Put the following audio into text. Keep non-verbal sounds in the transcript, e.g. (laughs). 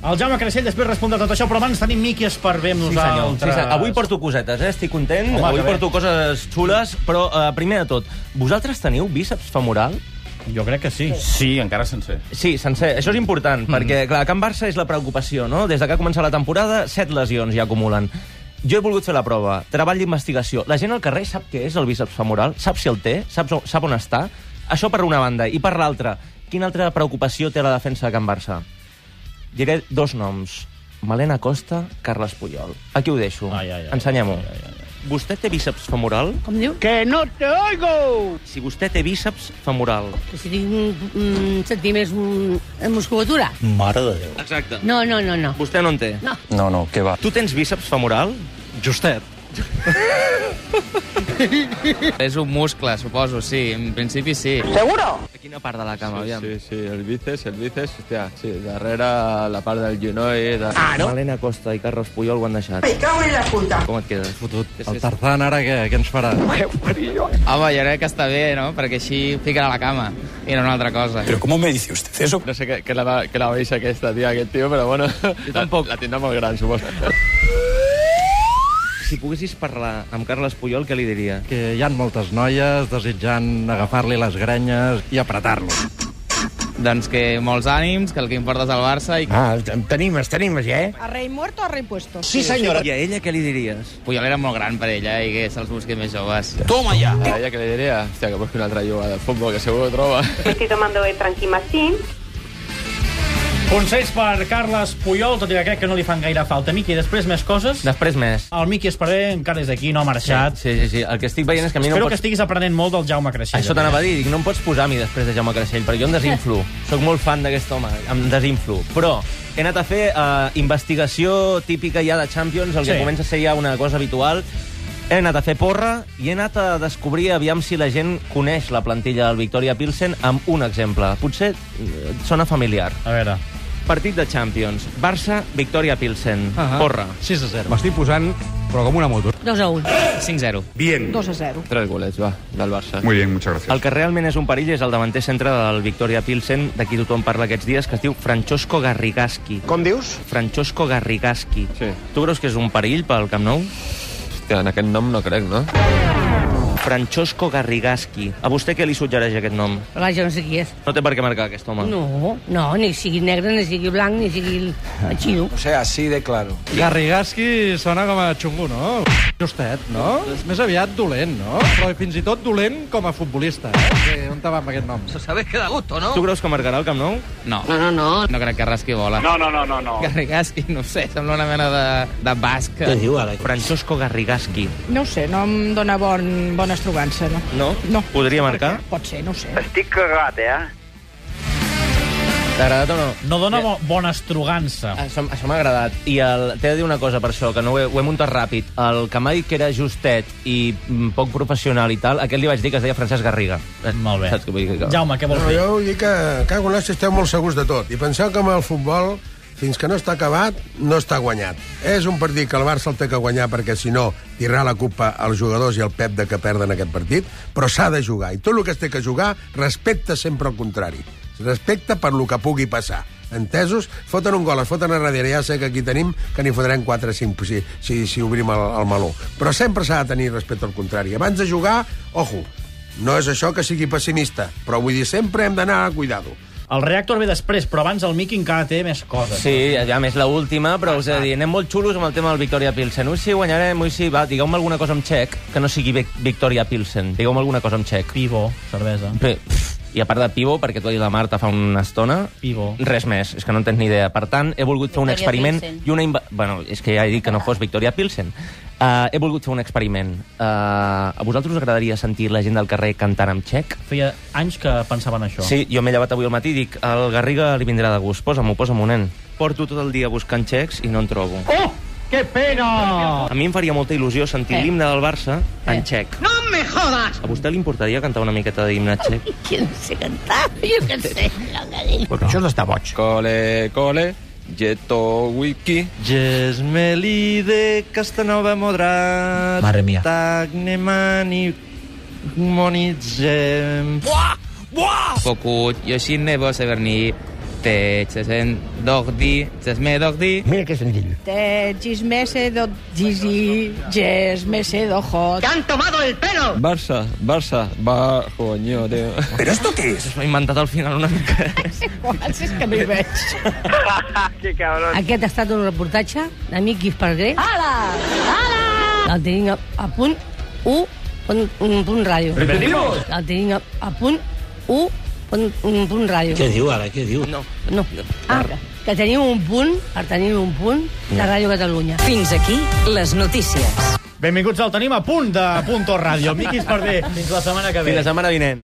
El Jaume Creixell després respon de tot això, però abans tenim Miqui Esparvé amb Sí, senyor. nosaltres. Sí, senyor. Avui porto cosetes, eh? Estic content. Home, Home, Avui que bé. porto coses xules, però eh, primer de tot, vosaltres teniu bíceps femoral? Jo crec que sí. Sí, encara sencer. Sí, sencer. Això és important, mm. perquè clar, a Can Barça és la preocupació, no? Des de que ha començat la temporada, set lesions ja acumulen. Jo he volgut fer la prova, treball d'investigació. La gent al carrer sap què és el bíceps femoral, sap si el té, sap, on- sap on està. Això per una banda. I per l'altra, quina altra preocupació té la defensa de Can Barça? Diré dos noms. Malena Costa, Carles Puyol. Aquí ho deixo. Ai, ai, ai. Ensenyem-ho. Vostè té bíceps femoral? Com diu? ¡Que no te oigo! Si vostè té bíceps femoral. Que si tinc mm, centímetres mm, musculatura? Exacte. No. No, no, no, no. Vostè no en té? No. No, no, què va. Tu tens bíceps femoral? Justet. És un muscle, suposo, sí. En principi, sí. ¿Seguro? A quina part de la cama, sí, aviam? Sí, sí, el bíceps, el bíceps, hòstia, sí, darrere la part del genoll... De... Ah, no? Malena Costa i Carles Puyol ho han deixat. Me cago en la puta. Com et quedes? Fotut. El Tarzan ara Eh, què, què ens farà? Home, jo crec que està bé, no? Perquè així fiquen a la cama i no una altra cosa. Però... ¿Cómo me dice usted eso? No sé què, què, la, va- què la veis aquesta, tia, aquest tio, però bueno... Jo tampoc. La, la tindrà molt gran, suposo. Si poguessis parlar amb Carles Puyol, què li diria? Que hi han moltes noies desitjant agafar-li les grenyes i apretar-lo. Doncs que molts ànims, que el que importa és el Barça i Ah, t'animes, t'animes, eh? ¿A rey muerto o a rey puesto? Sí, senyora. I a ella què li diries? Puyol era molt gran per ella i que se'ls busqui més joves. Toma ja. A ella que li diria, hòstia, que busqui una altra jugada de futbol, que segur que ho troba. estoy tomando el tranquimacín. Consells per Carles Puyol, tot i que crec que no li fan gaire falta. Miqui, després més coses. Després més. El Miqui Esparvé encara és aquí, no ha marxat. Sí, sí, sí. El que estic veient és que a mi Espero no em que pots... estiguis aprenent molt del Jaume Creixell. Això t'anava a dir, dic, no em pots posar a mi després de Jaume Creixell, perquè jo em desinflo. (laughs) Soc molt fan d'aquest home, em desinflo. Però he anat a fer eh, investigació típica ja de Champions, el que Sí. sí. comença a ser ja una cosa habitual. He anat a fer porra i he anat a descobrir aviam si la gent coneix la plantilla del Victoria Pilsen amb un exemple. Potser eh, et sona familiar. A veure. Partit de Champions. Barça, Victoria Pilsen. Ahà. Porra. 6 a 0. M'estic posant, però com una moto. 2 a 1. 5-0. 2 a 0. Tres golets, va, del Barça. Muy bien, muchas gracias. El que realment és un perill és el davanter centre del Victoria Pilsen, de qui tothom parla aquests dies, que es diu Francesco Garrigaski. Com dius? Francesco Garrigaski. Sí. Tu creus que és un perill pel Camp Nou? Hòstia, en aquest nom no crec, no? Francesco Garrigaski. A vostè què li suggereix aquest nom? Però vaja, no sé qui és. No té per què marcar aquest home. No, no, ni sigui negre, ni sigui blanc, ni sigui el- el xino. O sea, así de claro. Garrigaski sona com a xungo, no? Justet, no? És més aviat dolent, no? Però fins i tot dolent com a futbolista. Eh? Que, on te va amb aquest nom? Tu creus que marcarà el Camp Nou? (laughs) No. No, no, no. No crec que rasqui bola. No, no, no, no. no. Garrigasqui, no ho sé, sembla una mena de, de basca. diu ara? Francesco Garrigaski. No ho sé, no em dóna bon, bona estrogança, no? No? No. Podria marcar? Pot ser, no ho sé. T'ha agradat o no? No dona bo bona estrogança. Això, això m'ha agradat. I el, t'he de dir una cosa per això, que no ho he, ho he muntat ràpid. El que m'ha dit que era justet i mm, poc professional i tal, aquest li vaig dir que es deia Francesc Garriga. Eh, Molt bé. Saps què vull dir? Que... Jaume, què vols dir? Jo vull dir que, cago en l'os, esteu molt segurs de tot. I penseu que amb el futbol, fins que no està acabat, no està guanyat. És un partit que el Barça el té que guanyar perquè, si no, tirarà la culpa als jugadors i al Pep de que perden aquest partit, però s'ha de jugar. I tot el que es té que jugar, respecta sempre el contrari. Respecta per lo que pugui passar. Entesos? Foten un gol, es foten a darrere. Ja sé que aquí tenim que n'hi fotrem 4 5 si, si, si obrim el, el meló. Però sempre s'ha de tenir respecte al contrari. Abans de jugar, ojo, no és això que sigui pessimista, però vull dir, sempre hem d'anar a cuidar-ho. El reactor ve després, però abans el Miqui encara té més coses. Sí, a més la última, però us he Ah. de dir, anem molt xulos amb el tema del Victoria Pilsen. Ui, sí, guanyarem, ui, sí, va, digueu-me alguna cosa en txec que no sigui Vic- Victoria Pilsen. Digueu-me alguna cosa en txec. Pivó, cervesa. Bé, pff, I a part de Pivo, perquè t'ho ha dit la Marta fa una estona, Pivó. res més, és que no en tens ni idea. Per tant, he volgut fer un Victoria experiment Pilsen. i una... Inva... Bueno, és que ja he dit que no fos Victoria Pilsen. Uh, he volgut fer un experiment. Uh, a vosaltres us agradaria sentir la gent del carrer cantant amb txec? Feia anys que pensava en això. Sí, jo m'he llevat avui al matí i dic, al Garriga li vindrà de gust, posa'm-ho, posa'm-ho, nen. Porto tot el dia buscant xecs i no en trobo. Oh! Que Oh. pena! A mi em faria molta il·lusió sentir Eh. eh. l'himne del Barça en Eh. xec. No me jodas! A vostè li importaria cantar una miqueta d'himne txec? Qui no sé cantar? Jo què en sé. la gallina. Però això està boig. Cole, cole, Jeto Wiki. Gesmeli de Castanova Modrat. Mare mia. Tagne mani... Monitzem... Focut, Yoshin Nebo Severni, Te chesen dog di, chesme dog di. Mira que senzill. Te gismese do gisi, gesmese do hot. han tomado el pelo! Barça, Barça, va, coño, tio. Però esto què és? M'he inventat al final una mica. Quants és que no hi veig? Aquest ha estat un reportatge d'Amic Guisparguer. Ala! Ala! El tenim a, a punt 1, un, un punt ràdio. Repetimos! El tenim a, a punt 1, un, un punt ràdio. Què diu ara, què diu? No. No. Ah, que teniu un punt, per tenir un punt, de Ràdio Catalunya. Fins aquí les notícies. Benvinguts al Tenim a punt de Punto Ràdio. Miquis Parder, fins la setmana que ve. Fins la setmana vinent.